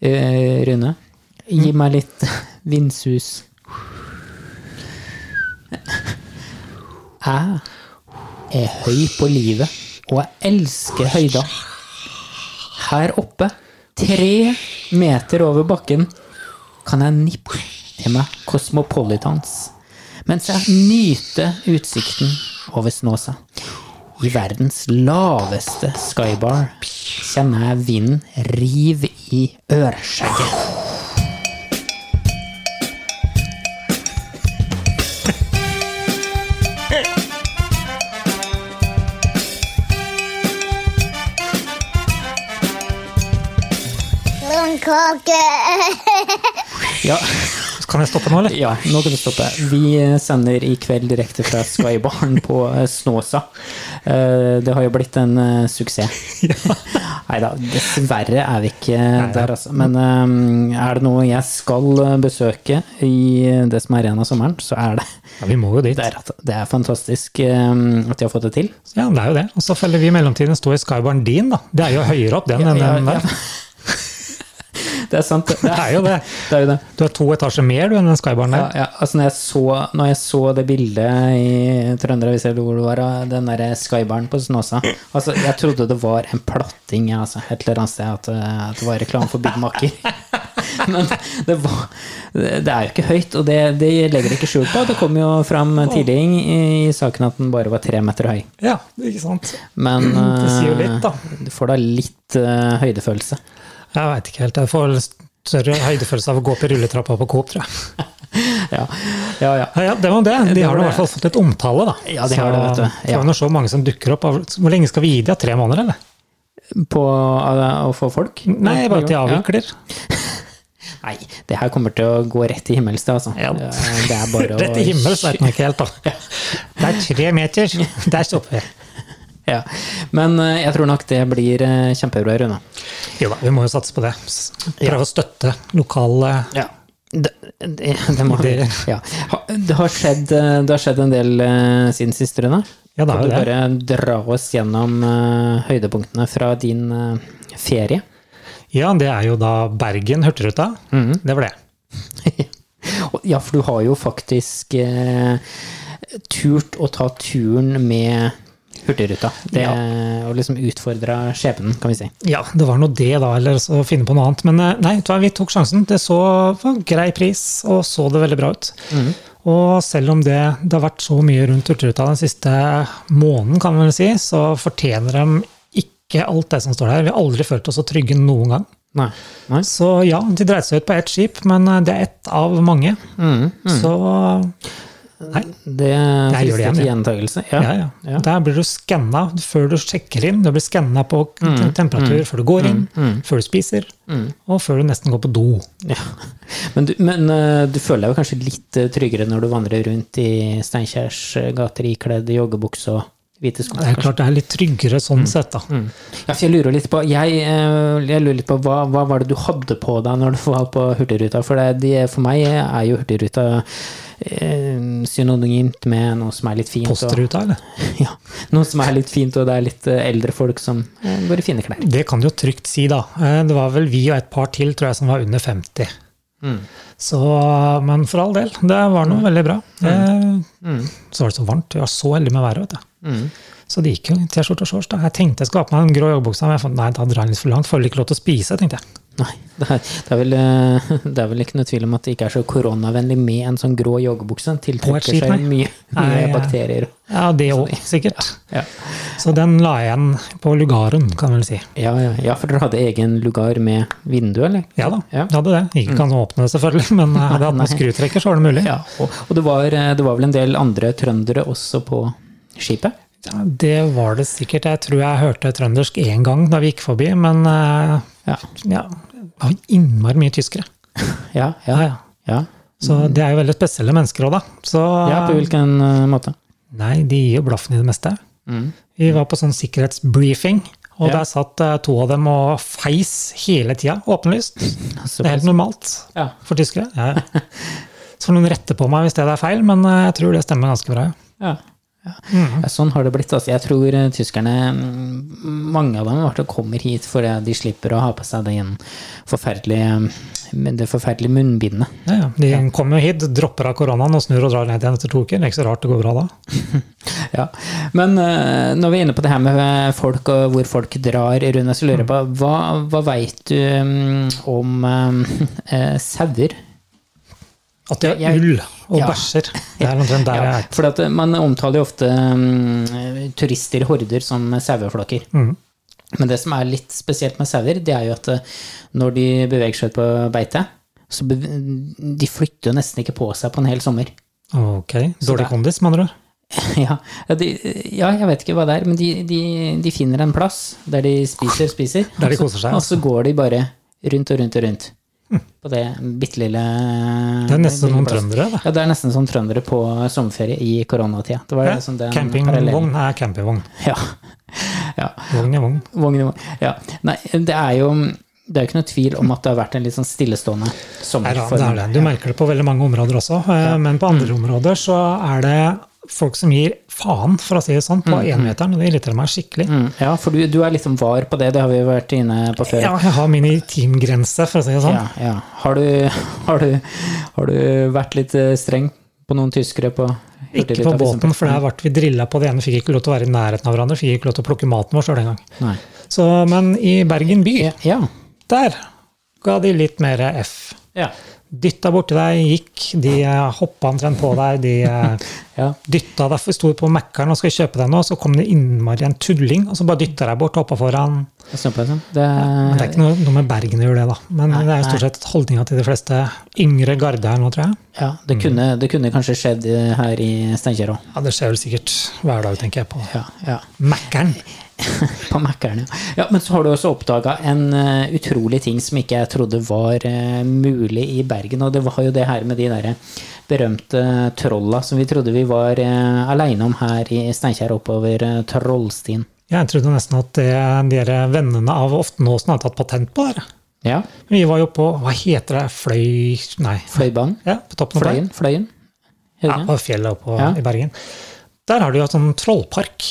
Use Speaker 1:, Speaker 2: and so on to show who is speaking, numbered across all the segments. Speaker 1: Eh, Rune, gi meg litt vindsus. Jeg er høy på livet, og jeg elsker høyder. Her oppe, tre meter over bakken, kan jeg nippe til meg Cosmopolitans mens jeg nyter utsikten over Snåsa. I verdens laveste skybar kjenner jeg vinden rive i øreskjegget. Ja,
Speaker 2: Kan jeg stoppe nå, eller?
Speaker 1: ja, nå kan du stoppe. Vi sender i kveld direkte fra Skybaren på eh, Snåsa. Eh, Det har jo blitt en eh, suksess. Nei da, dessverre er vi ikke der, altså. Men eh, er det noe jeg skal eh, besøke i det som er igjen av sommeren, så er det
Speaker 2: Ja, vi må jo dit.
Speaker 1: det. Er, at- det er fantastisk eh, at de har fått det til.
Speaker 2: Ja, det er jo det. Og så følger vi i mellomtiden stå i skybaren din, da. Det er jo høyere opp, den,
Speaker 1: Ja,
Speaker 2: enn
Speaker 1: ja,
Speaker 2: den
Speaker 1: ja.
Speaker 2: der.
Speaker 1: Det er sant. Det
Speaker 2: Det
Speaker 1: er,
Speaker 2: er jo det.
Speaker 1: det er jo det.
Speaker 2: Du er to etasjer mer, du, enn den skybaren
Speaker 1: Ja,
Speaker 2: der.
Speaker 1: ja. Altså, når, jeg så, når jeg så det bildet i Trønderavis, eller hvor det var, av den derre skybaren på Snåsa altså, Jeg trodde det var en platting ja, altså, et eller annet sted, at, eh, at det var reklame for Big Macker. Men det, var, det er jo ikke høyt, og det, det legger det ikke skjul på. Det kom jo fram tidlig i, i saken at den bare var tre meter høy.
Speaker 2: Ja, ikke sant.
Speaker 1: Men
Speaker 2: Det sier jo
Speaker 1: eh,
Speaker 2: litt, da.
Speaker 1: du får da litt eh, høydefølelse.
Speaker 2: Jeg veit ikke helt. Jeg får større høydefølelse av å gå opp i rulletrappa på Coop, tror jeg.
Speaker 1: Ja, ja. ja.
Speaker 2: Ja, ja, det var det. De
Speaker 1: Det
Speaker 2: har
Speaker 1: var
Speaker 2: da i
Speaker 1: det.
Speaker 2: hvert fall fått litt omtale, da.
Speaker 1: Ja, de har det, vet du.
Speaker 2: Så
Speaker 1: Ja.
Speaker 2: får vi nå se hvor mange som dukker opp. av- Hvor lenge skal vi gi de? Tre måneder, eller?
Speaker 1: På eh, å få folk?
Speaker 2: Nei, bare at de
Speaker 1: Ja.
Speaker 2: avvikler.
Speaker 1: Nei, det her kommer til å gå rett til himmels, det, altså.
Speaker 2: Ja.
Speaker 1: Det er bare å
Speaker 2: Rett i himmelen, så vet man ikke helt, da. Det er tre meter. Der stopper vi.
Speaker 1: Ja. Men eh, jeg tror nok det blir eh, kjempebra, Rune.
Speaker 2: Jo da, vi må jo satse på det. S- Prøve å støtte lokale
Speaker 1: Ja. Det, det, det, må,
Speaker 2: Ideer.
Speaker 1: ja. Ha- det, har skjedd, eh, det har skjedd en del eh, siden sist, Rune.
Speaker 2: Ja, det
Speaker 1: Kan
Speaker 2: har jo
Speaker 1: du
Speaker 2: det.
Speaker 1: bare dra oss gjennom eh, høydepunktene fra din eh, ferie?
Speaker 2: Ja, det er jo da Bergen Hurtigruta. Det var det.
Speaker 1: Og- Ja, for du har jo faktisk eh, turt å ta turen med Hurtigruta. Det, Og liksom utfordra skjebnen, kan vi si.
Speaker 2: Ja, det var nå det, da, eller så finne på noe annet. Men eh, nei, vet du hva, vi tok sjansen. Det så var grei pris, og så det veldig bra ut. Og selv om det, det har vært så mye rundt Hurtigruta den siste måneden, kan man vel si, så fortjener de ikke alt det som står der. Vi har aldri følt oss så trygge noen gang.
Speaker 1: Nei. Nei.
Speaker 2: Så ja, de dreide seg ut på ett skip, men eh, det er ett av mange. Så
Speaker 1: Det
Speaker 2: Jeg gjør det
Speaker 1: frister
Speaker 2: igjen,
Speaker 1: til
Speaker 2: ja.
Speaker 1: gjentagelse. Ja.
Speaker 2: ja, ja. Der blir du skanna før du sjekker inn. Du blir skanna på te- temperatur før du går inn, før du spiser, og før du nesten går på do.
Speaker 1: Ja. Men, du, men eh, du føler deg jo kanskje litt eh, tryggere når du vandrer rundt i Steinkjers eh, gater ikledd joggebukse og hvite sko?
Speaker 2: Det er klart det er litt tryggere sånn sett, da.
Speaker 1: Ja, for jeg lurer litt på, jeg, eh, jeg lurer litt på hva, hva var det du hadde på deg når du var på Hurtigruta? For, det, de, for meg er jo Hurtigruta eh, synonymt med noe som er litt fint. Og,
Speaker 2: Postruta, eller?
Speaker 1: ja, noe som er litt fint, og det er litt eh, eldre folk som eh, går i fine klær.
Speaker 2: Det kan du jo trygt si, da. Eh, Det var vel vi og et par til, tror jeg, som var under 50. Mm. Så, men for all del, det var noe veldig bra. Eh, Så var det så varmt. Vi var så heldige med været, vet du. Så det gikk jo i T-skjorte og shorts. da. Jeg tenkte jeg skulle ha på meg en grå joggebukse, men jeg fant, nei, da drar jeg litt for langt. Får ikke lov til å spise, tenkte jeg.
Speaker 1: Nei, det er, det, er vel, eh, det er vel ikke noe tvil om at det ikke er så koronavennlig med en sånn grå joggebukse. Den
Speaker 2: På et
Speaker 1: Tiltrekker
Speaker 2: skip,
Speaker 1: seg
Speaker 2: nei.
Speaker 1: mye, mye
Speaker 2: Nei, ja.
Speaker 1: bakterier.
Speaker 2: Ja, det òg, sikkert.
Speaker 1: Ja.
Speaker 2: Så den la jeg igjen på lugaren, kan man vel si.
Speaker 1: Ja, ja, ja, for dere hadde egen lugar med vindu, eller?
Speaker 2: Ja da,
Speaker 1: Ja. Mm.
Speaker 2: jeg hadde det. Ikke kan åpne det, selvfølgelig, men eh, hadde jeg hatt med skrutrekker, så var det mulig.
Speaker 1: Ja, og, og det, var, eh, det var vel en del andre trøndere også på skipet?
Speaker 2: Ja, det var det sikkert. Jeg tror jeg hørte trøndersk én gang da vi gikk forbi, men eh,
Speaker 1: Ja.
Speaker 2: ja, det var innmari mye tyskere.
Speaker 1: Ja, ja,
Speaker 2: Ja, ja.
Speaker 1: ja.
Speaker 2: Så det er jo veldig spesielle mennesker òg, da. Så,
Speaker 1: ja på hvilken eh, måte?
Speaker 2: Nei, de gir jo blaffen i det meste. Vi var på sånn sikkerhetsbriefing, og
Speaker 1: Mm. Ja.
Speaker 2: der satt eh, to av dem og feis hele tida, åpenlyst. Det er helt normalt
Speaker 1: Ja.
Speaker 2: for tyskere. Ja, ja. Så får noen rette på meg hvis det er feil, men eh, jeg tror det stemmer ganske bra. ja.
Speaker 1: Ja. Ja, Sånn har det blitt. Altså. Jeg tror eh, tyskerne, mm, mange av dem i hvert fall kommer hit fordi de slipper å ha på seg den forferdelige, mm, det forferdelige munnbindet.
Speaker 2: Ja, ja. De kommer hit, dropper av koronaen og snur og drar ned igjen etter to uker. Det er ikke så rart det går bra da.
Speaker 1: Ja. Men eh, når vi er inne på det her med folk og hvor folk drar, Rune, så lurer jeg på hva, hva veit du mm, om eh, sauer?
Speaker 2: At de har
Speaker 1: Jeg-
Speaker 2: ull og
Speaker 1: ja.
Speaker 2: bæsjer. Det er omtrent der jeg
Speaker 1: Ja,
Speaker 2: er.
Speaker 1: for at eh, man omtaler jo ofte mm, turister, horder, som saueflokker.
Speaker 2: Mm.
Speaker 1: Men det som er litt spesielt med sauer, det er jo at eh, når de beveger seg ut på beite, så bev- de flytter jo nesten ikke på seg på en hel sommer.
Speaker 2: Ok,
Speaker 1: det
Speaker 2: Dårlig
Speaker 1: er- Mm,
Speaker 2: kondis, med andre ord.
Speaker 1: ja, de, ja, jeg vet ikke hva det er, men de, de, de finner en plass der de spiser, spiser.
Speaker 2: Der de
Speaker 1: og så-
Speaker 2: koser seg, Mm.
Speaker 1: Og så går de bare rundt og rundt og rundt. På det bitte lille
Speaker 2: Det er nesten
Speaker 1: lille
Speaker 2: noen
Speaker 1: plassen.
Speaker 2: trøndere. det.
Speaker 1: Ja, det er nesten som trøndere på sommerferie i koronatida. Det var
Speaker 2: Ja,
Speaker 1: liksom den parallellen.
Speaker 2: Campingvogn er campingvogn.
Speaker 1: Ja. ja.
Speaker 2: Vogn er vogn.
Speaker 1: Vogn i vogn. Ja. Nei, det er jo det er jo ikke noe tvil om at det har vært en litt sånn stillestående
Speaker 2: Nei,
Speaker 1: sommer
Speaker 2: da,
Speaker 1: for
Speaker 2: det er det. Du merker det på veldig mange områder også. eh, Men på
Speaker 1: Mm.
Speaker 2: andre områder så er det folk som gir faen, for å si det sånn, på énmeteren. og Det irriterer meg skikkelig.
Speaker 1: Mm, ja, for du, du er liksom var på det, det har vi jo vært inne på før.
Speaker 2: Ja, jeg har min intimgrense, for å si det sånn.
Speaker 1: Ja, ja. Har, du, har, du, har du vært litt eh, streng på noen tyskere på
Speaker 2: Ikke
Speaker 1: Hurtigruta,
Speaker 2: på
Speaker 1: for
Speaker 2: båten,
Speaker 1: eksempel?
Speaker 2: for der ble vi drilla på det ene. Fikk ikke lov til å være i nærheten av hverandre, fikk ikke lov til å plukke maten vår sjøl engang.
Speaker 1: Nei.
Speaker 2: Så, Men i Bergen by,
Speaker 1: Ja, ja.
Speaker 2: der ga de litt mer F.
Speaker 1: Ja.
Speaker 2: Dytta borti deg, gikk, de eh, hoppa omtrent på deg, de eh,
Speaker 1: Ja.
Speaker 2: dytta deg, for vi sto på Mækkern og skulle kjøpe deg noe, så kom det innmari en tulling, og så bare dytta deg bort, hoppa foran.
Speaker 1: jeg så på det sånn. Det,
Speaker 2: Men det er ikke noe, noe med Bergen å gjøre det, da. Men det er jo stort sett holdninga til de fleste yngre garde her nå, tror jeg.
Speaker 1: ja, det, kunne, det kunne kanskje skjedd eh, her i Steinkjer òg.
Speaker 2: Ja, det skjer vel sikkert hver dag, tenker jeg på.
Speaker 1: Ja, ja.
Speaker 2: Mækkern.
Speaker 1: På Mækkern, ja. ja. Men så har du også oppdaga en eh, utrolig ting som ikke jeg trodde var eh, mulig i Bergen. Og det var jo det her med de derre berømte trolla som vi trodde vi var uh, aleine om her i Steinkjer, oppover eh, Trollstien.
Speaker 2: Jeg trodde nesten at det dere vennene av Oftenåsen hadde tatt patent på der.
Speaker 1: Ja.
Speaker 2: Vi var jo på Hva heter det? Fløy... Nei.
Speaker 1: Fløibanen.
Speaker 2: Ja, på toppen av
Speaker 1: Fløyen. Fløyen.
Speaker 2: Ja,
Speaker 1: Høyre.
Speaker 2: på fjellet oppe på-
Speaker 1: Ja.
Speaker 2: i Bergen. Der har de jo sånn trollpark.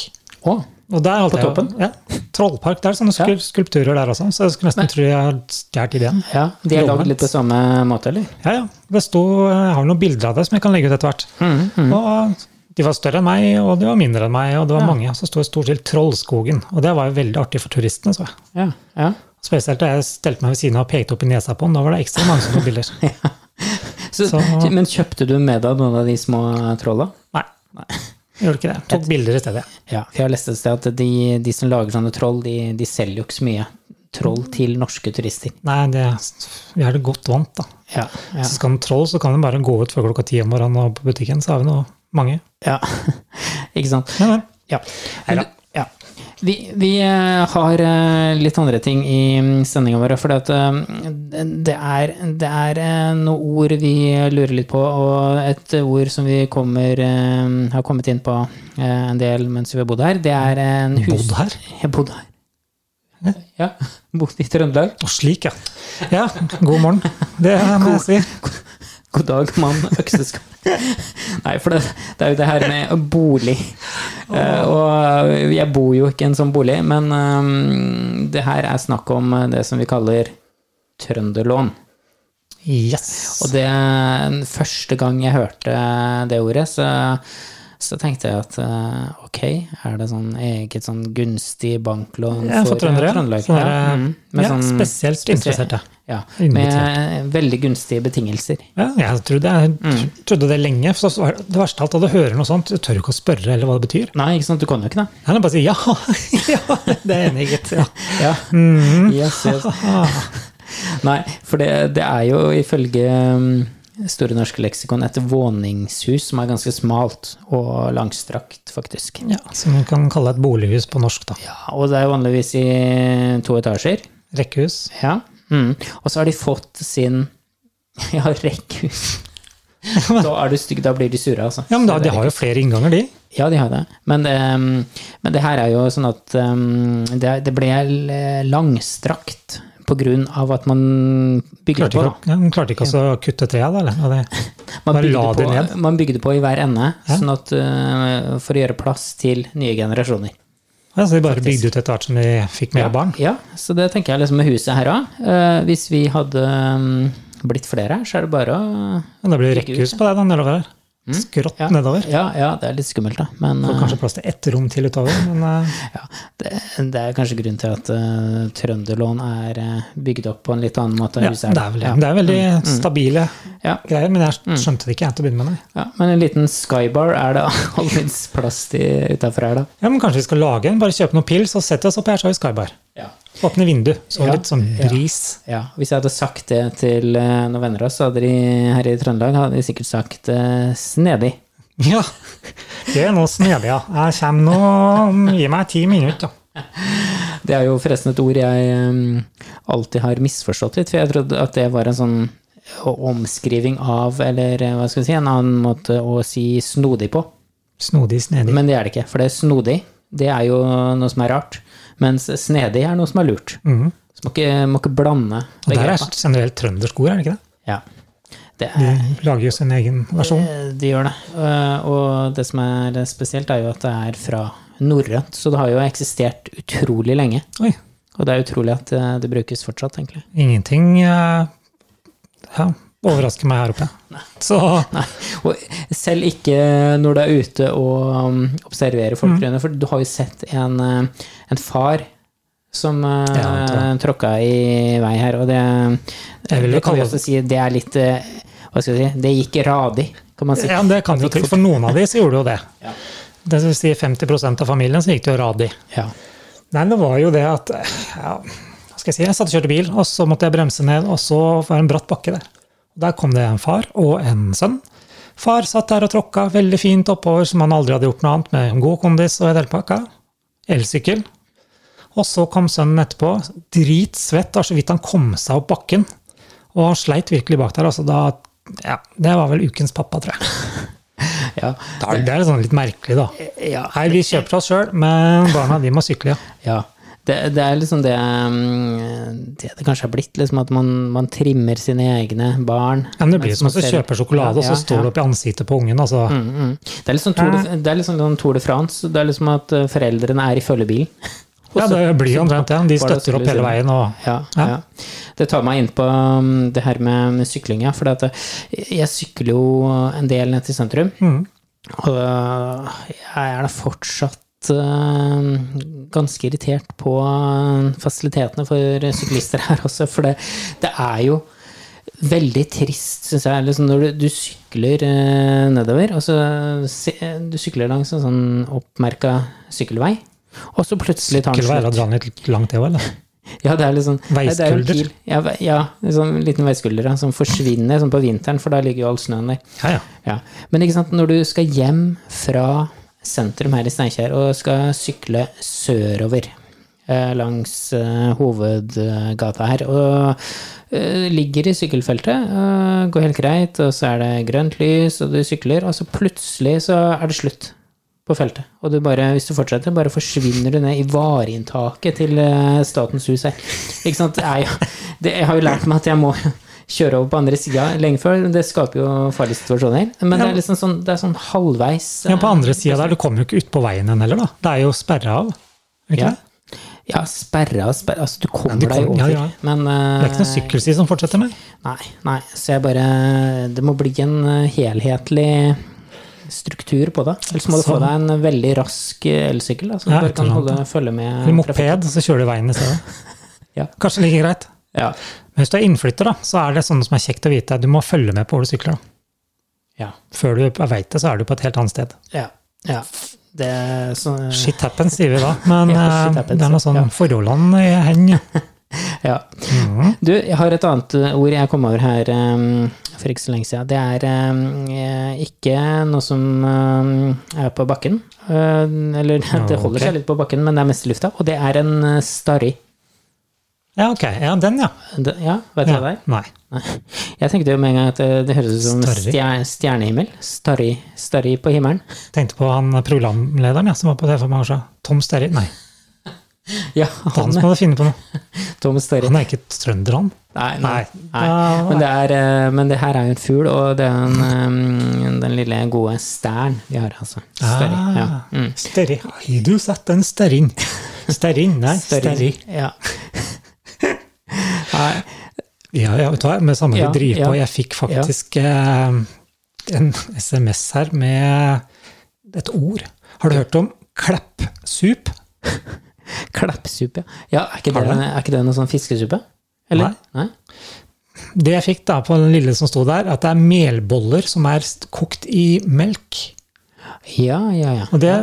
Speaker 1: Å,
Speaker 2: Og der holdt
Speaker 1: På
Speaker 2: jeg jo-
Speaker 1: toppen?
Speaker 2: Ja, trollpark. Det er sånne skul skulpturer der også, så jeg skulle nesten tro jeg har stjålet ideen.
Speaker 1: ja. De er
Speaker 2: Lovende.
Speaker 1: lagd litt på samme måte, eller?
Speaker 2: Ja, ja. Det sto, jeg har noen bilder av det som jeg kan legge ut etter hvert.
Speaker 1: Mm,
Speaker 2: Og eh, de var større enn meg, og de var mindre enn meg, og det var mange. Og så sto det stort sett Trollskogen, og det var jo veldig artig for turistene, så jeg.
Speaker 1: Ja. ja.
Speaker 2: Spesielt da jeg stelte meg ved siden av og pekte opp i nesa på den, da var det ekstra mange som tok bilder.
Speaker 1: Så,
Speaker 2: Så-
Speaker 1: Men kjøpte du med deg noen av de små trolla?
Speaker 2: Nei, jeg gjorde ikke det. Tok bilder i stedet.
Speaker 1: Ja, for jeg har lest et sted at de, de som lager sånne troll, de, de selger jo ikke så mye
Speaker 2: Mm.
Speaker 1: troll til norske turister.
Speaker 2: Nei, det, vi er det godt vant, da.
Speaker 1: Ja, ja.
Speaker 2: Så skal den troll, så kan den bare gå ut før klokka ti om morgenen og på butikken, så har vi noe mange.
Speaker 1: ja. ikke sant?
Speaker 2: Ja, vel.
Speaker 1: Ja.
Speaker 2: Neida.
Speaker 1: ja. Vi, vi eh, har eh, litt andre ting i sendinga vår, for det, er, det er eh, noen ord vi lurer litt på, og et ord som vi kommer, eh, har kommet inn på eh, en del mens vi har bodd her, det er en hus...
Speaker 2: Bodd her?
Speaker 1: Jeg har bodd her. Ja, bodd i Trøndelag.
Speaker 2: Og slik, ja. Ja, god morgen. Det må jeg si.
Speaker 1: God dag, mann. Økseskaft. Nei, for det, det er jo det her med bolig. Eh, og jeg bor jo ikke i en sånn bolig, men eh, det her er snakk om eh, det som vi kaller trønderlån.
Speaker 2: Yes.
Speaker 1: Og det første gang jeg hørte det ordet, så, så tenkte jeg at eh, ok, er det sånn eget sånn gunstig banklån eh,
Speaker 2: Ja, for trøndere, ja.
Speaker 1: Trøndelag?
Speaker 2: Sånn
Speaker 1: Ja,
Speaker 2: der,
Speaker 1: mm, med
Speaker 2: ja,
Speaker 1: sånn-
Speaker 2: spesielt interesserte.
Speaker 1: Ja,
Speaker 2: Invitert.
Speaker 1: med veldig gunstige betingelser.
Speaker 2: Ja, jeg trodde, jeg
Speaker 1: Mm.
Speaker 2: trodde det lenge. For så var det det verste av alt, da du hører noe sånt, du tør ikke å spørre eller hva det betyr.
Speaker 1: Nei, ikke sant, du kan jo ikke det.
Speaker 2: Nei, bare si ja. ja, det er enig, gitt. Ja.
Speaker 1: Ja. Yes, yes. Mhm. Nei, for det, det er jo ifølge um, Store norske leksikon et våningshus som er ganske smalt og langstrakt, faktisk.
Speaker 2: ja, som vi kan kalle et bolighus på norsk, da.
Speaker 1: Ja, og det er vanligvis i to etasjer.
Speaker 2: Rekkehus.
Speaker 1: Ja. Mm. Og så har de fått sin Ja, rekkehus. Da er du stygg, da blir de sure, altså.
Speaker 2: Ja, men da, de har jo flere innganger, de.
Speaker 1: Ja, de har det. Men, ehm, det, men det her er jo sånn at um, det, det ble l- eh, langstrakt på grunn av at man bygde
Speaker 2: Klarte
Speaker 1: på.
Speaker 2: ikke,
Speaker 1: da.
Speaker 2: å- ja, men klarte ikke også å kutte treet, da? Eller? Og det,
Speaker 1: Man
Speaker 2: Bare
Speaker 1: bygde,
Speaker 2: la det
Speaker 1: på,
Speaker 2: ned.
Speaker 1: man bygde på i hver ende, sånn at, eh, for å gjøre plass til nye generasjoner.
Speaker 2: ja, så de bare bygde ut etter hvert som de fikk mer barn?
Speaker 1: Ja, så det tenker jeg liksom med huset her òg. hvis vi hadde mm, blitt flere her, så er det bare å
Speaker 2: Men det blir
Speaker 1: Bygge
Speaker 2: rekkehus på det da, nedover her. Skrått
Speaker 1: ja.
Speaker 2: nedover.
Speaker 1: Ja, ja, det er litt skummelt, da. Men
Speaker 2: Får
Speaker 1: eh,
Speaker 2: kanskje plass til ett rom til utover, men eh,
Speaker 1: ja, det, det er kanskje grunnen til at eh, trønderlån er eh, bygd opp på en litt annen måte enn
Speaker 2: ja,
Speaker 1: huset her.
Speaker 2: det er vel det. Det er veldig stabile
Speaker 1: Ja.
Speaker 2: greier, men jeg skjønte det ikke jeg til å begynne med. Nei.
Speaker 1: Ja, men en liten skybar er det alltids plass til utafor her, da.
Speaker 2: Ja, men kanskje vi skal lage en? Bare kjøpe noen pils og sette oss opp her, så har vi Skybar.
Speaker 1: Ja.
Speaker 2: Åpne vindu, så
Speaker 1: Ja.
Speaker 2: litt sånn bris.
Speaker 1: Hvis jeg hadde sagt det til eh, noen venner av oss så hadde de, her i Trøndelag, hadde de sikkert sagt eh, snedig.
Speaker 2: Ja, det er nå snedig, ja. Jeg kommer nå Gi meg ti minutter, da.
Speaker 1: Det er jo forresten et ord jeg eh, alltid har misforstått litt, for jeg trodde at det var en sånn omskriving av, eller eh, hva skal vi si, en annen måte å si snodig på.
Speaker 2: Snodig, snedig.
Speaker 1: Men det er det ikke, for det er snodig, det er jo noe som er rart, mens snedig er noe som er lurt. Så må ikke, må ikke blande
Speaker 2: Og der Mhm. er
Speaker 1: begrepene.
Speaker 2: generelt trøndersk ord, er det ikke det?
Speaker 1: Ja. Det er,
Speaker 2: De lager jo sin egen versjon.
Speaker 1: Eh, De gjør det. Eh, Og det som er spesielt, er jo at det er fra norrønt, så det har jo eksistert utrolig lenge.
Speaker 2: Oi,
Speaker 1: Og det er utrolig at eh, det brukes fortsatt, egentlig.
Speaker 2: ingenting eh, ja, overrasker meg her oppe. Så
Speaker 1: Nei. Og selv ikke når du er ute og um, observerer folk
Speaker 2: Mm.
Speaker 1: rundt deg, for du har jo sett en, eh, en far som eh,
Speaker 2: Ja, det.
Speaker 1: tråkka i vei her, og det,
Speaker 2: Jeg vil jo
Speaker 1: det kan vi
Speaker 2: kalle-
Speaker 1: også si det er litt eh, Hva skal vi si Det gikk radig, kan man si.
Speaker 2: ja, det kan jo til. For noen av de så gjorde jo det.
Speaker 1: Ja.
Speaker 2: Det vil si 50 av familien så gikk det jo radig.
Speaker 1: Ja.
Speaker 2: Nei, det var jo det at ja, hva skal Jeg si, jeg satt og kjørte bil, og så måtte jeg bremse ned, og så var det en bratt bakke der. Og Der kom det en far og en sønn. Far satt der og tråkka veldig fint oppover, som han aldri hadde gjort noe annet, med god kondis og hele pakka. Elsykkel. Og så kom sønnen etterpå, dritsvett, det var så vidt han kom seg opp bakken. Og han sleit virkelig bak der. altså da, ja, Det var vel ukens pappa, tror jeg.
Speaker 1: Ja.
Speaker 2: Det er- Det er sånn litt merkelig, da.
Speaker 1: ja.
Speaker 2: Nei, vi kjøper oss sjøl, men barna de må sykle, ja.
Speaker 1: Ja. Det, det er liksom det mm, det det kanskje har blitt, liksom at man, man trimmer sine egne barn.
Speaker 2: Ja, men det blir
Speaker 1: Mens
Speaker 2: som
Speaker 1: man
Speaker 2: hvis du
Speaker 1: selv-
Speaker 2: kjøper sjokolade, og
Speaker 1: Ja,
Speaker 2: så
Speaker 1: ja,
Speaker 2: står det opp i ansiktet på ungen. Altså.
Speaker 1: ja. Mm, mm. Det er litt sånn Tour de, det er litt sånn sånn Tour de France. Det er liksom at eh, foreldrene er i følgebilen.
Speaker 2: Ja, det blir omtrent det. De
Speaker 1: Var det liksom
Speaker 2: støtter opp
Speaker 1: skulle
Speaker 2: hele
Speaker 1: si?
Speaker 2: veien. Og,
Speaker 1: Ja, ja.
Speaker 2: Ja.
Speaker 1: Det tar meg inn på mm, det her med med sykling. Ja, for det at eh, jeg sykler jo en del ned til sentrum.
Speaker 2: Mm.
Speaker 1: Og eh, jeg er da fortsatt eh, ganske irritert på eh, fasilitetene for syklister her også, for det, det er jo veldig trist, syns jeg. Liksom når du, du sykler eh, nedover, og så se, du sykler langs en sånn oppmerka sykkelvei, og så plutselig tar den
Speaker 2: Sykkelvei,
Speaker 1: slutt.
Speaker 2: da drar den litt langt, det òg, eller?
Speaker 1: Ja, det er litt sånn nei, det er jo en
Speaker 2: Veiskulder.
Speaker 1: pil. Ja, ve- ja, en sånn liten veiskulder ja, som forsvinner sånn på vinteren, for da ligger jo all snøen der.
Speaker 2: Ja, ja.
Speaker 1: Ja. Men ikke sant, når du skal hjem fra sentrum her i Steinkjer og skal sykle sørover eh, langs eh, hovedgata her, og eh, ligger i sykkelfeltet, eh, går helt greit, og så er det grønt lys, og du sykler, og så plutselig så er det slutt på feltet. Og du bare, hvis du fortsetter, bare forsvinner du ned i vareinntaket til eh, Statens hus her. Ikke sant? Det er jo, det, jeg har jo lært meg at jeg må kjøre over på andre sida lenge før. Det skaper jo farlige situasjoner. Men det er liksom sånn, det er sånn halvveis eh,
Speaker 2: ja på andre sida der, du kommer jo ikke ut på veien igjen heller, da. Det er jo sperra av. er det Ikke
Speaker 1: Ja.
Speaker 2: det?
Speaker 1: Ja, sperra og sperra Altså, du kommer
Speaker 2: du
Speaker 1: deg
Speaker 2: kommer-
Speaker 1: over.
Speaker 2: ja, ja.
Speaker 1: Men eh,
Speaker 2: Det er ikke noen sykkelsti som fortsetter, nei.
Speaker 1: Nei, nei. Så jeg bare Det må bli en eh, helhetlig struktur på det. Ellers må du få
Speaker 2: Sånn.
Speaker 1: deg en veldig rask eh, elsykkel, da, så du
Speaker 2: Ja,
Speaker 1: bare kan
Speaker 2: ikke sant,
Speaker 1: holde, følge med.
Speaker 2: Eller moped, så kjører du veien i stedet.
Speaker 1: Ja.
Speaker 2: Kanskje like greit.
Speaker 1: Ja.
Speaker 2: Men hvis du er innflytter, da, så er det sånne som er kjekt å vite. Du må følge med på hvor du sykler. da.
Speaker 1: ja.
Speaker 2: Før du veit det, så er du på et helt annet sted.
Speaker 1: Ja. ja. Det er sånn
Speaker 2: Shit happens, sier vi da. Men
Speaker 1: Ja, shit
Speaker 2: eh,
Speaker 1: happens,
Speaker 2: det er noe sånn
Speaker 1: ja.
Speaker 2: forholdene i hen.
Speaker 1: Ja.
Speaker 2: Mhm.
Speaker 1: Du, jeg har et annet eh, ord jeg kom over her eh, for ikke så lenge siden. Det er eh, ikke noe som eh, er på bakken. Eh, Eller det holder
Speaker 2: ok.
Speaker 1: seg litt på bakken, men det er mest i lufta. Og det er en eh, starry.
Speaker 2: Ja, ok. Ja, den, ja.
Speaker 1: Det- Ja, vet du
Speaker 2: ja.
Speaker 1: hva det er?
Speaker 2: Nei.
Speaker 1: Nei. Jeg tenkte jo med en gang at eh, det, det høres ut som
Speaker 2: Starry.
Speaker 1: stjer- stjernehimmel. Starry, starry på himmelen.
Speaker 2: Tenkte på han programlederen ja, som var på det for mange år siden. Tom Sterry. Nei.
Speaker 1: Ja,
Speaker 2: Han
Speaker 1: han
Speaker 2: som hadde funnet på noe.
Speaker 1: Tom Større.
Speaker 2: Han er ikke trønder, han.
Speaker 1: Nei.
Speaker 2: Nei. Ah.
Speaker 1: nei. Men, det er, eh, men det her er jo en fugl, og det er en, eh, den lille gode stæren vi har, altså. Større. Ja. Mm.
Speaker 2: Ah, Sterri. Har du sett en sterring? Sterring? Nei, sterri.
Speaker 1: Ja. Nei,
Speaker 2: Ja, ja, vet du hva, med samme
Speaker 1: Ja,
Speaker 2: vi driver på.
Speaker 1: ja.
Speaker 2: Jeg fikk faktisk eh, en SMS her med et ord. Har du hørt om kleppsup?
Speaker 1: Kleppsuppe, ja. ja er, ikke
Speaker 2: Har
Speaker 1: det,
Speaker 2: du
Speaker 1: er ikke det noe sånn fiskesuppe? Eller? Nei.
Speaker 2: Det jeg fikk da på den lille som sto der, at det er melboller som er st- kokt i melk.
Speaker 1: Ja, ja, ja.
Speaker 2: Og det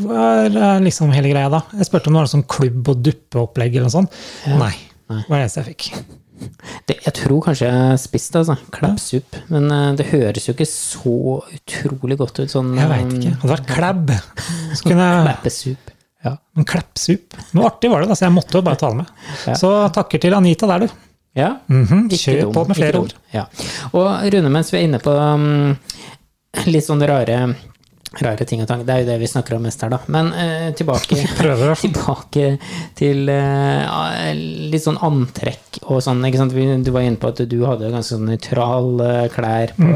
Speaker 2: var eh, liksom hele greia da. Jeg spurte om det var noe sånn klubb- og duppeopplegg eller noe sånt. Nei. Det var det eneste jeg fikk.
Speaker 1: Det, jeg tror kanskje jeg har spist det, altså. Kleppsupp. Men eh, det høres jo ikke så utrolig godt ut sånn eh,
Speaker 2: Jeg veit ikke. Hadde det vært klæbb, så kunne jeg
Speaker 1: Kleppesupp.
Speaker 2: Ja, men kleppsup. Men artig var det, da, så jeg måtte jo bare ta det med.
Speaker 1: Ja.
Speaker 2: Så takker til Anita der, du.
Speaker 1: Ja.
Speaker 2: Mhm,
Speaker 1: Ikke
Speaker 2: Kjør
Speaker 1: dum,
Speaker 2: på med
Speaker 1: ikke
Speaker 2: flere
Speaker 1: dum.
Speaker 2: ord.
Speaker 1: Ja. Og Rune, mens vi er inne på um, litt sånne rare, rare ting og tang, det er jo det vi snakker om mest her, da. Men eh, tilbake,
Speaker 2: Prøver. å-
Speaker 1: tilbake til eh, ja, litt sånn antrekk og sånn. ikke sant? Vi- Du var inne på at du hadde ganske sånn nøytrale klær på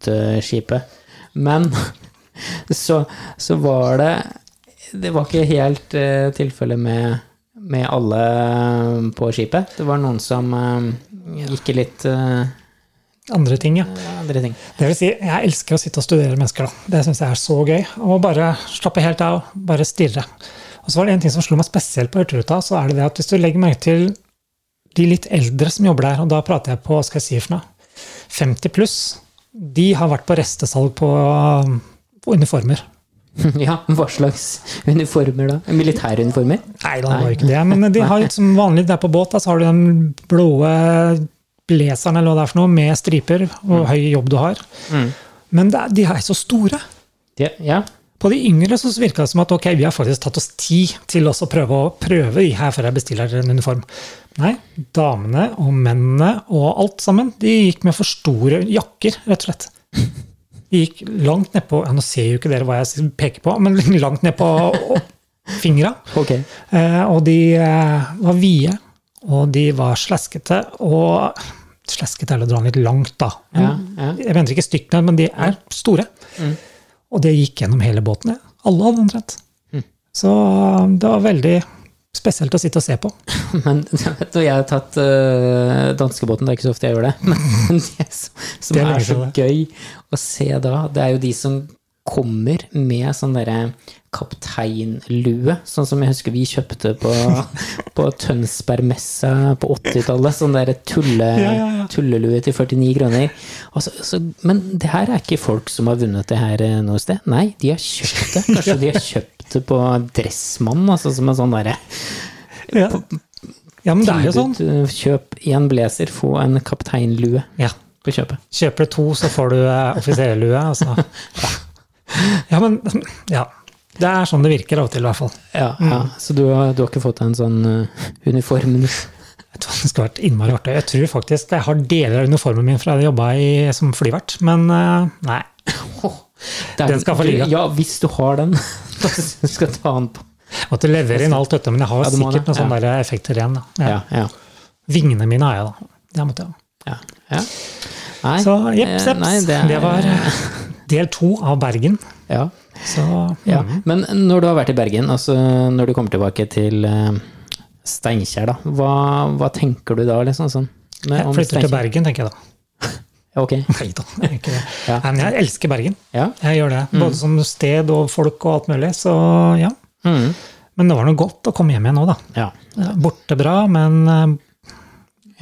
Speaker 1: Hurtigruteskipet. Men så, så var det Det var ikke helt uh, tilfellet med, med alle eh, på skipet. Det var noen som eh, gikk i litt eh,
Speaker 2: Andre ting, ja.
Speaker 1: andre ting.
Speaker 2: Det vil si, jeg elsker å sitte og studere mennesker, da. Det syns jeg er så gøy. Og bare slappe helt av, bare stirre. Og så var det en ting som slo meg spesielt på Hurtigruta, så er det det at hvis du legger merke til de litt eldre som jobber der, og da prater jeg på hva skal jeg si for noe, 50 pluss, de har vært på restesalg på, på uniformer.
Speaker 1: ja, hva slags uniformer da? Militæruniformer?
Speaker 2: Nei, da var jo ikke det. Men de har jo som vanlig der på båt, da, så har du den blå blazeren eller hva det er for noe, med striper og høy jobb du har. Men det, er- de er så store.
Speaker 1: Ja, ja.
Speaker 2: På de yngre så virka det som at ok, vi har faktisk tatt oss tid til oss å prøve å prøve de her før jeg bestiller en uniform. Nei, damene og mennene og alt sammen, de gikk med for store jakker, rett og slett. De gikk langt nedpå ja, Nå ser jo ikke dere hva jeg peker på, men langt nedpå fingra.
Speaker 1: Ok.
Speaker 2: Eh, og de eh, var vide, og de var slaskete, og slaskete er å dra den litt langt, da.
Speaker 1: Ja, ja. Mm.
Speaker 2: Jeg venter ikke stykkene, men de er store. Og det gikk gjennom hele båten. ja. Alle hadde omtrent.
Speaker 1: Mm.
Speaker 2: Så um, det var veldig spesielt å sitte og se på.
Speaker 1: Men du vet du, jeg har tatt eh, danskebåten, det er ikke så ofte jeg gjør det. Men det som, som
Speaker 2: Det er
Speaker 1: er,
Speaker 2: lenge
Speaker 1: så
Speaker 2: siden,
Speaker 1: gøy å se da, det er jo de som kommer med sånn derre kapteinlue, sånn som jeg husker vi kjøpte på, på Tønsbergmessa på 80-tallet. Sånn derre tulle,
Speaker 2: Ja, ja, ja.
Speaker 1: tullelue til 49 kroner. Og så, så, men det her er ikke folk som har vunnet det her eh, noe sted. Nei, de har kjøpt det. Kanskje de har kjøpt det på Dressmann, altså som en sånn derre
Speaker 2: Ja. ja, men det er jo sånn.
Speaker 1: Tilbud, eh, Kjøp én blazer, få en kapteinlue
Speaker 2: Ja.
Speaker 1: på kjøpet.
Speaker 2: Kjøper du to, så får du eh, offiserlue. Altså. Ja, men ja. Det er sånn det virker av og til, i hvert fall.
Speaker 1: Ja, ja. Så du, har- du har ikke fått deg en sånn eh, uniform?
Speaker 2: Vet du hva, Det skulle vært innmari artig. Jeg tror faktisk jeg har deler av uniformen min fra jeg jobba som flyvert, men eh, nei.
Speaker 1: Det er-
Speaker 2: Den skal få ligge.
Speaker 1: Ja, hvis du har den. Da skal du skal ta den på.
Speaker 2: Måtte levere inn alt dette, men jeg har
Speaker 1: Ja, du må
Speaker 2: sikkert
Speaker 1: det,
Speaker 2: noen sånne der effekter igjen. Da. Ja.
Speaker 1: Ja, ja.
Speaker 2: Vingene mine har jeg, da. Det måtte jeg ha.
Speaker 1: ja, ja. Nei,
Speaker 2: Så jepp,
Speaker 1: eh,
Speaker 2: sepps.
Speaker 1: nei,
Speaker 2: det,
Speaker 1: er-
Speaker 2: var eh, del to av Bergen.
Speaker 1: ja,
Speaker 2: Så
Speaker 1: ja.
Speaker 2: mm.
Speaker 1: Men når du har vært i Bergen, altså når du kommer tilbake til eh, Steinkjer, da, hva, hva tenker du da, liksom? Sånn, med- om
Speaker 2: jeg flytter til
Speaker 1: Steinkjer?
Speaker 2: Bergen, tenker jeg da.
Speaker 1: Ok,
Speaker 2: Nei da, jeg gjør ikke det.
Speaker 1: Ja. Mm.
Speaker 2: Nei, men jeg elsker Bergen.
Speaker 1: ja.
Speaker 2: Jeg gjør det. Både som sted og folk og alt mulig. Så ja.
Speaker 1: Mm,
Speaker 2: Men det var noe godt å komme hjem igjen nå, da.
Speaker 1: ja.
Speaker 2: Borte bra, men eh,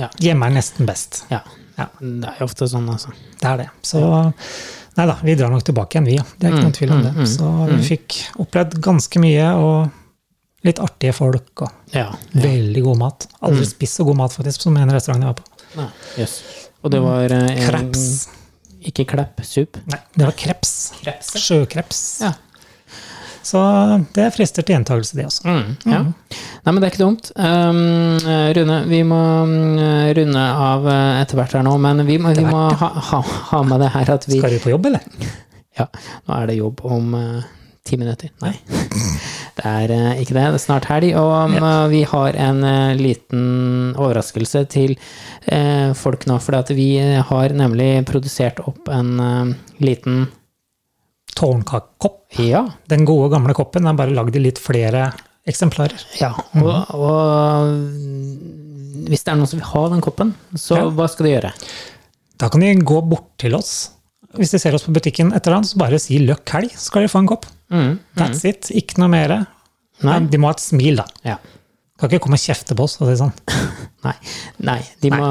Speaker 1: Ja.
Speaker 2: hjemme er nesten best.
Speaker 1: Ja.
Speaker 2: Ja.
Speaker 1: Det er jo ofte sånn, altså.
Speaker 2: Det er det. Så nei da, vi drar nok tilbake igjen, vi. ja. Det er
Speaker 1: Mm,
Speaker 2: ikke noen tvil om det. Så vi fikk opplevd ganske mye, og litt artige folk, og
Speaker 1: Ja. Mm.
Speaker 2: veldig god mat. Aldri spist så god mat, faktisk, som en restaurant jeg var på.
Speaker 1: Nei, Jøss. Og det var eh, en,
Speaker 2: Kreps.
Speaker 1: Ikke klepp, sup.
Speaker 2: Nei, det var kreps.
Speaker 1: Kreps,
Speaker 2: Sjøkreps.
Speaker 1: Ja.
Speaker 2: Så det frister til gjentakelse, det også.
Speaker 1: Mm, ja. Nei, men det er ikke dumt. Um, eh, Rune, vi må mm, runde av eh, etter hvert her nå, men vi må, vi må ha, ha, ha med det her at vi
Speaker 2: Skal du på jobb, eller?
Speaker 1: Ja, nå er det jobb om eh, Ti minutter? Nei. Det er eh, ikke det. Det er snart helg, og eh, vi har en eh, liten overraskelse til eh, folk nå. For at vi eh, har nemlig produsert opp en eh, liten
Speaker 2: Tårnkakekopp.
Speaker 1: Ja.
Speaker 2: Den gode, gamle koppen er bare lagd i litt flere eksemplarer.
Speaker 1: ja og, og hvis det er noen som vil ha den koppen, så
Speaker 2: Ja.
Speaker 1: hva skal de gjøre?
Speaker 2: Da kan de gå bort til oss. Hvis de ser oss på butikken etter den, så bare si 'løkk helg', så skal de få en kopp.
Speaker 1: Mm.
Speaker 2: That's it. Ikke noe mer.
Speaker 1: Nei.
Speaker 2: Men De må ha et smil, da.
Speaker 1: Ja.
Speaker 2: Kan ikke komme og kjefte på oss. Og si sånn.
Speaker 1: Nei. Nei. De må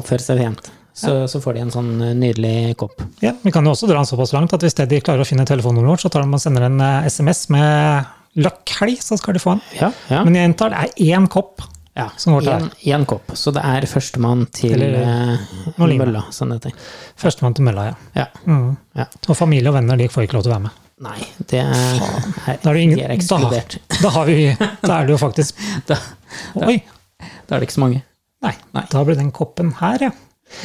Speaker 1: oppføre seg pent. Så, så får de en sånn eh, nydelig kopp.
Speaker 2: ja, vi kan jo også dra den såpass langt at hvis de klarer å finne telefonnummeret vårt, så tar de og sender en eh, SMS med 'løkk helg', så skal de få den.
Speaker 1: Ja, ja.
Speaker 2: Men jeg gjentar, det er én kopp.
Speaker 1: Ja,
Speaker 2: Som går til
Speaker 1: en, en kopp. Så det er førstemann til
Speaker 2: Eller,
Speaker 1: eh,
Speaker 2: noe lignende.
Speaker 1: mølla, som det heter.
Speaker 2: Førstemann til mølla, ja.
Speaker 1: Ja.
Speaker 2: Mm.
Speaker 1: ja.
Speaker 2: Og familie og venner de får ikke lov til å være med.
Speaker 1: Nei, det er, er,
Speaker 2: Da er, det ingen,
Speaker 1: de er
Speaker 2: da,
Speaker 1: ekskludert.
Speaker 2: da, har vi, da er det jo faktisk
Speaker 1: Da,
Speaker 2: Oi!
Speaker 1: da er det ikke så mange.
Speaker 2: Nei, da blir den koppen her, ja.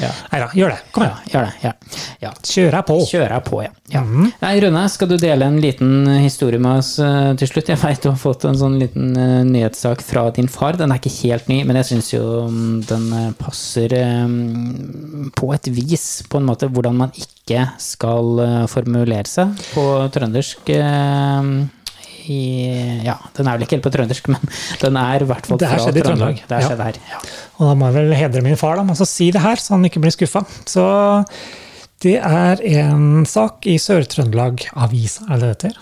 Speaker 1: Ja,
Speaker 2: Nei da, gjør det. Kom
Speaker 1: ja
Speaker 2: igjen.
Speaker 1: gjør det. Ja. ja.
Speaker 2: Kjør deg på.
Speaker 1: Kjører jeg på, ja. ja.
Speaker 2: Mhm.
Speaker 1: Nei, Rune, skal du dele en liten historie med oss eh, til slutt? Jeg veit du har fått en sånn liten eh, nyhetssak fra din far. Den er ikke helt ny, men jeg syns jo mm, den eh, passer eh, på et vis, på en måte, hvordan man ikke skal eh, formulere seg på trøndersk. eh, i, ja, den er vel ikke helt på trøndersk, men den er i hvert fall
Speaker 2: Det her
Speaker 1: fra
Speaker 2: skjedde i
Speaker 1: Trøndelag.
Speaker 2: Trøndelag,
Speaker 1: Det her
Speaker 2: ja.
Speaker 1: skjedde her. Ja.
Speaker 2: Og da må jeg vel hedre min far, da, men så si det her, så han ikke blir skuffa. Så det er en sak i Sør-Trøndelag Avisa, er det det heter?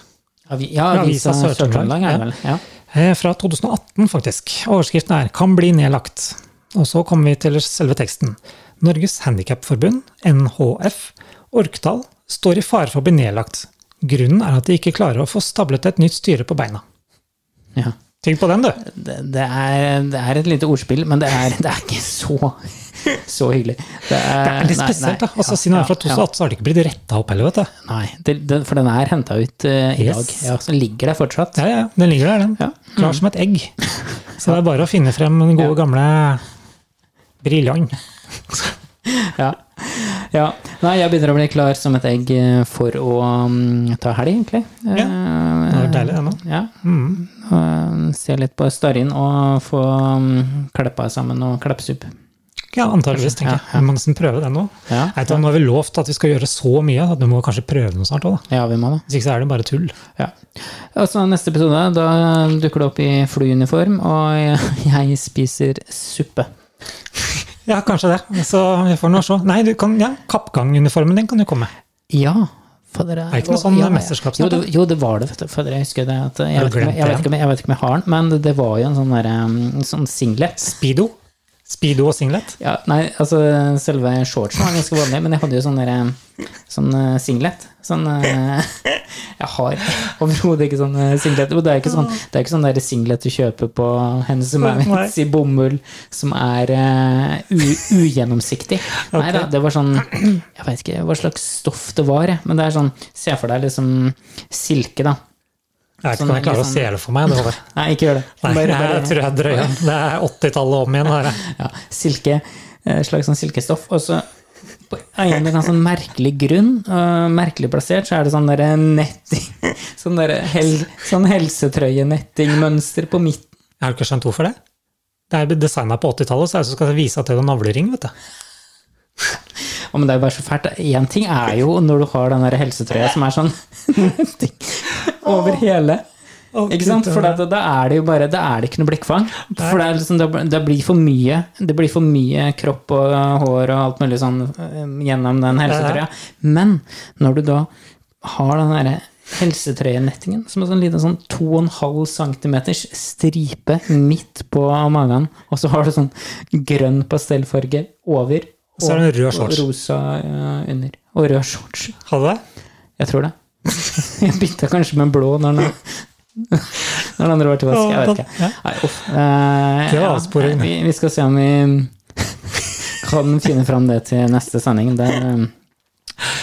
Speaker 1: Avi- Ja,
Speaker 2: Fra
Speaker 1: Avisa
Speaker 2: Avisa Sør-Trøndelag,
Speaker 1: Sør-Trøndelag er det vel. Ja.
Speaker 2: Eh, Fra 2018, faktisk. Overskriften er 'Kan bli nedlagt'. Og så kommer vi til selve teksten. Norges Handikapforbund, NHF, Orkdal, står i fare for å bli nedlagt. Grunnen er at de ikke klarer å få stablet et nytt styre på beina.
Speaker 1: Ja.
Speaker 2: Tygg på den, du.
Speaker 1: det, det, er, det er et lite ordspill, men det er, det er ikke så, så hyggelig. Det er,
Speaker 2: Det er litt
Speaker 1: nei,
Speaker 2: spesielt,
Speaker 1: nei,
Speaker 2: da. Altså,
Speaker 1: ja,
Speaker 2: siden den er fra
Speaker 1: ja,
Speaker 2: 2018, så har det ikke blitt retta opp heller, vet du.
Speaker 1: ja, nei, det, det, for den er henta ut eh, i dag.
Speaker 2: Yes.
Speaker 1: Ja, så ligger det fortsatt.
Speaker 2: Ja, ja, ja. den ligger der, den.
Speaker 1: Ja.
Speaker 2: Klar som et egg. Så det er bare å finne frem den gode, gamle briljant.
Speaker 1: Ja. ja. Nei, jeg begynner å bli klar som et egg eh, for å mm, ta helg, egentlig.
Speaker 2: Ja. Det
Speaker 1: Eh,
Speaker 2: er deilig, det nå.
Speaker 1: ja.
Speaker 2: Mm.
Speaker 1: og Se litt på Starrin og få mm, kleppa sammen og kleppsupp.
Speaker 2: Ja, antageligvis, tenker
Speaker 1: Ja,
Speaker 2: jeg. Vi må nesten prøve den nå.
Speaker 1: Ja.
Speaker 2: Nei, da, nå har vi lovt at vi skal gjøre så mye at vi må kanskje prøve noe snart òg, da.
Speaker 1: ja, vi må det.
Speaker 2: Hvis ikke så er det bare tull.
Speaker 1: Ja. Og så neste episode, da dukker du opp i flyuniform, og jeg spiser suppe.
Speaker 2: Ja, kanskje det. Så vi får nå se. Nei, du kan, ja, kappganguniformen din kan jo komme.
Speaker 1: Ja. Fader, jeg-
Speaker 2: Er det ikke noe sånn
Speaker 1: ja, ja.
Speaker 2: mesterskapsnatt,
Speaker 1: Jo,
Speaker 2: da?
Speaker 1: det- jo, det var det, vet du. Fader, jeg husker det. At jeg,
Speaker 2: Har
Speaker 1: vet
Speaker 2: du
Speaker 1: ikke, om- jeg,
Speaker 2: glemt
Speaker 1: vet ikke, om- jeg vet ikke om jeg har den, men det- det var jo en sånn, der, um, sånn singlet.
Speaker 2: Speedo. Speedo og singlet.
Speaker 1: Ja, nei, altså selve shortsen var ganske vanlig, men jeg hadde jo sånn der, um, sånn eh, singlet. Sånn eh, Jeg har overhodet ikke sånn eh, singlet. Og det er ikke sånn, det er ikke sånn der singlet du kjøper på Hennes og
Speaker 2: Nei.
Speaker 1: Maurits i bomull som er eh, u, ugjennomsiktig. Nei da, det var sånn Jeg vet ikke hva slags stoff det var, jeg, men det er sånn Se for deg liksom silke, da.
Speaker 2: Jeg vet ikke
Speaker 1: Sånn,
Speaker 2: om jeg klarer å
Speaker 1: liksom-
Speaker 2: se det for meg. Det, var-
Speaker 1: Nei, ikke gjør det.
Speaker 2: Nei,
Speaker 1: Bare-
Speaker 2: jeg
Speaker 1: bare-
Speaker 2: tror jeg drøyer. Det er 80-tallet om igjen. det Her.
Speaker 1: ja, silke, eh, slags sånn silkestoff. Og så på en eller annen sånn merkelig grunn, eh, merkelig plassert, så er det sånn derre netting Sånn derre hel, sånn helsetrøyenettingmønster på midten.
Speaker 2: Jeg har ikke skjønt hvorfor det. Det er designa på 80-tallet, så er det så skal jeg vise at det er en navlering. vet du.
Speaker 1: Å, men det er jo bare så fælt. Én ting er jo når du har den der helsetrøya som er sånn netting over hele. Ikke sant? For da, da- da er det jo bare Da er det ikke noe blikkfang. For det, er liksom, da- da blir for mye, det blir for mye kropp og hår og alt mulig sånn eh, gjennom den helsetrøya. Men når du da har den derre helsetrøyenettingen som er sånn liten sånn 2,5 cm stripe midt på magen, og så har du sånn grønn pastellfarge over og
Speaker 2: Så er det en rød shorts.
Speaker 1: og rosa eh, under. Og rød shorts.
Speaker 2: Hadde det?
Speaker 1: Jeg tror det. Jeg bytta kanskje med blå når den, når den andre var til vask. Jeg vet ikke.
Speaker 2: Ja.
Speaker 1: Nei, uff. Eh,
Speaker 2: Det var
Speaker 1: ja,
Speaker 2: avsporing.
Speaker 1: vi, vi skal se om vi kan finne fram det til neste sending. Der eh,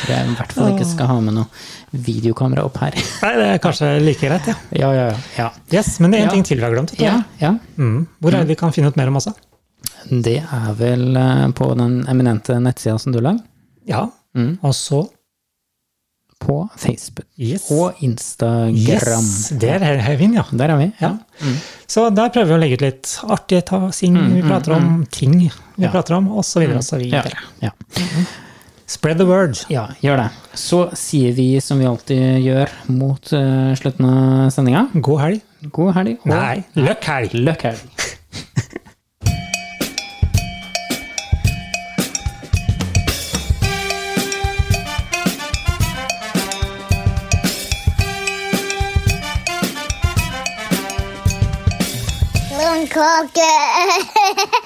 Speaker 1: jeg i hvert fall ikke skal ha med noe videokamera opp her.
Speaker 2: Nei, det er kanskje like greit, ja.
Speaker 1: Ja, ja, ja.
Speaker 2: Yes, Men det er én
Speaker 1: Ja.
Speaker 2: ting til vi har glemt. vet du.
Speaker 1: Ja, ja.
Speaker 2: Mm. Hvor er det vi kan finne ut mer om også?
Speaker 1: Det er vel eh, på den eminente nettsida som du lagde.
Speaker 2: Ja,
Speaker 1: Mm.
Speaker 2: og så
Speaker 1: på Facebook
Speaker 2: Yes.
Speaker 1: og Instagram.
Speaker 2: Yes, der er Hevin, ja.
Speaker 1: Der er vi.
Speaker 2: ja. Så der prøver vi å legge ut litt artige ta- ting vi prater om, ting vi
Speaker 1: Mm, Ja. Mm.
Speaker 2: prater om, og så videre og så
Speaker 1: Ja.
Speaker 2: videre.
Speaker 1: Ja.
Speaker 2: Spread the word.
Speaker 1: ja, gjør det. Så sier vi som vi alltid gjør mot eh, slutten av sendinga,
Speaker 2: God helg.
Speaker 1: god helg og
Speaker 2: Nei, løkk helg.
Speaker 1: løkk helg!
Speaker 3: Lundkake.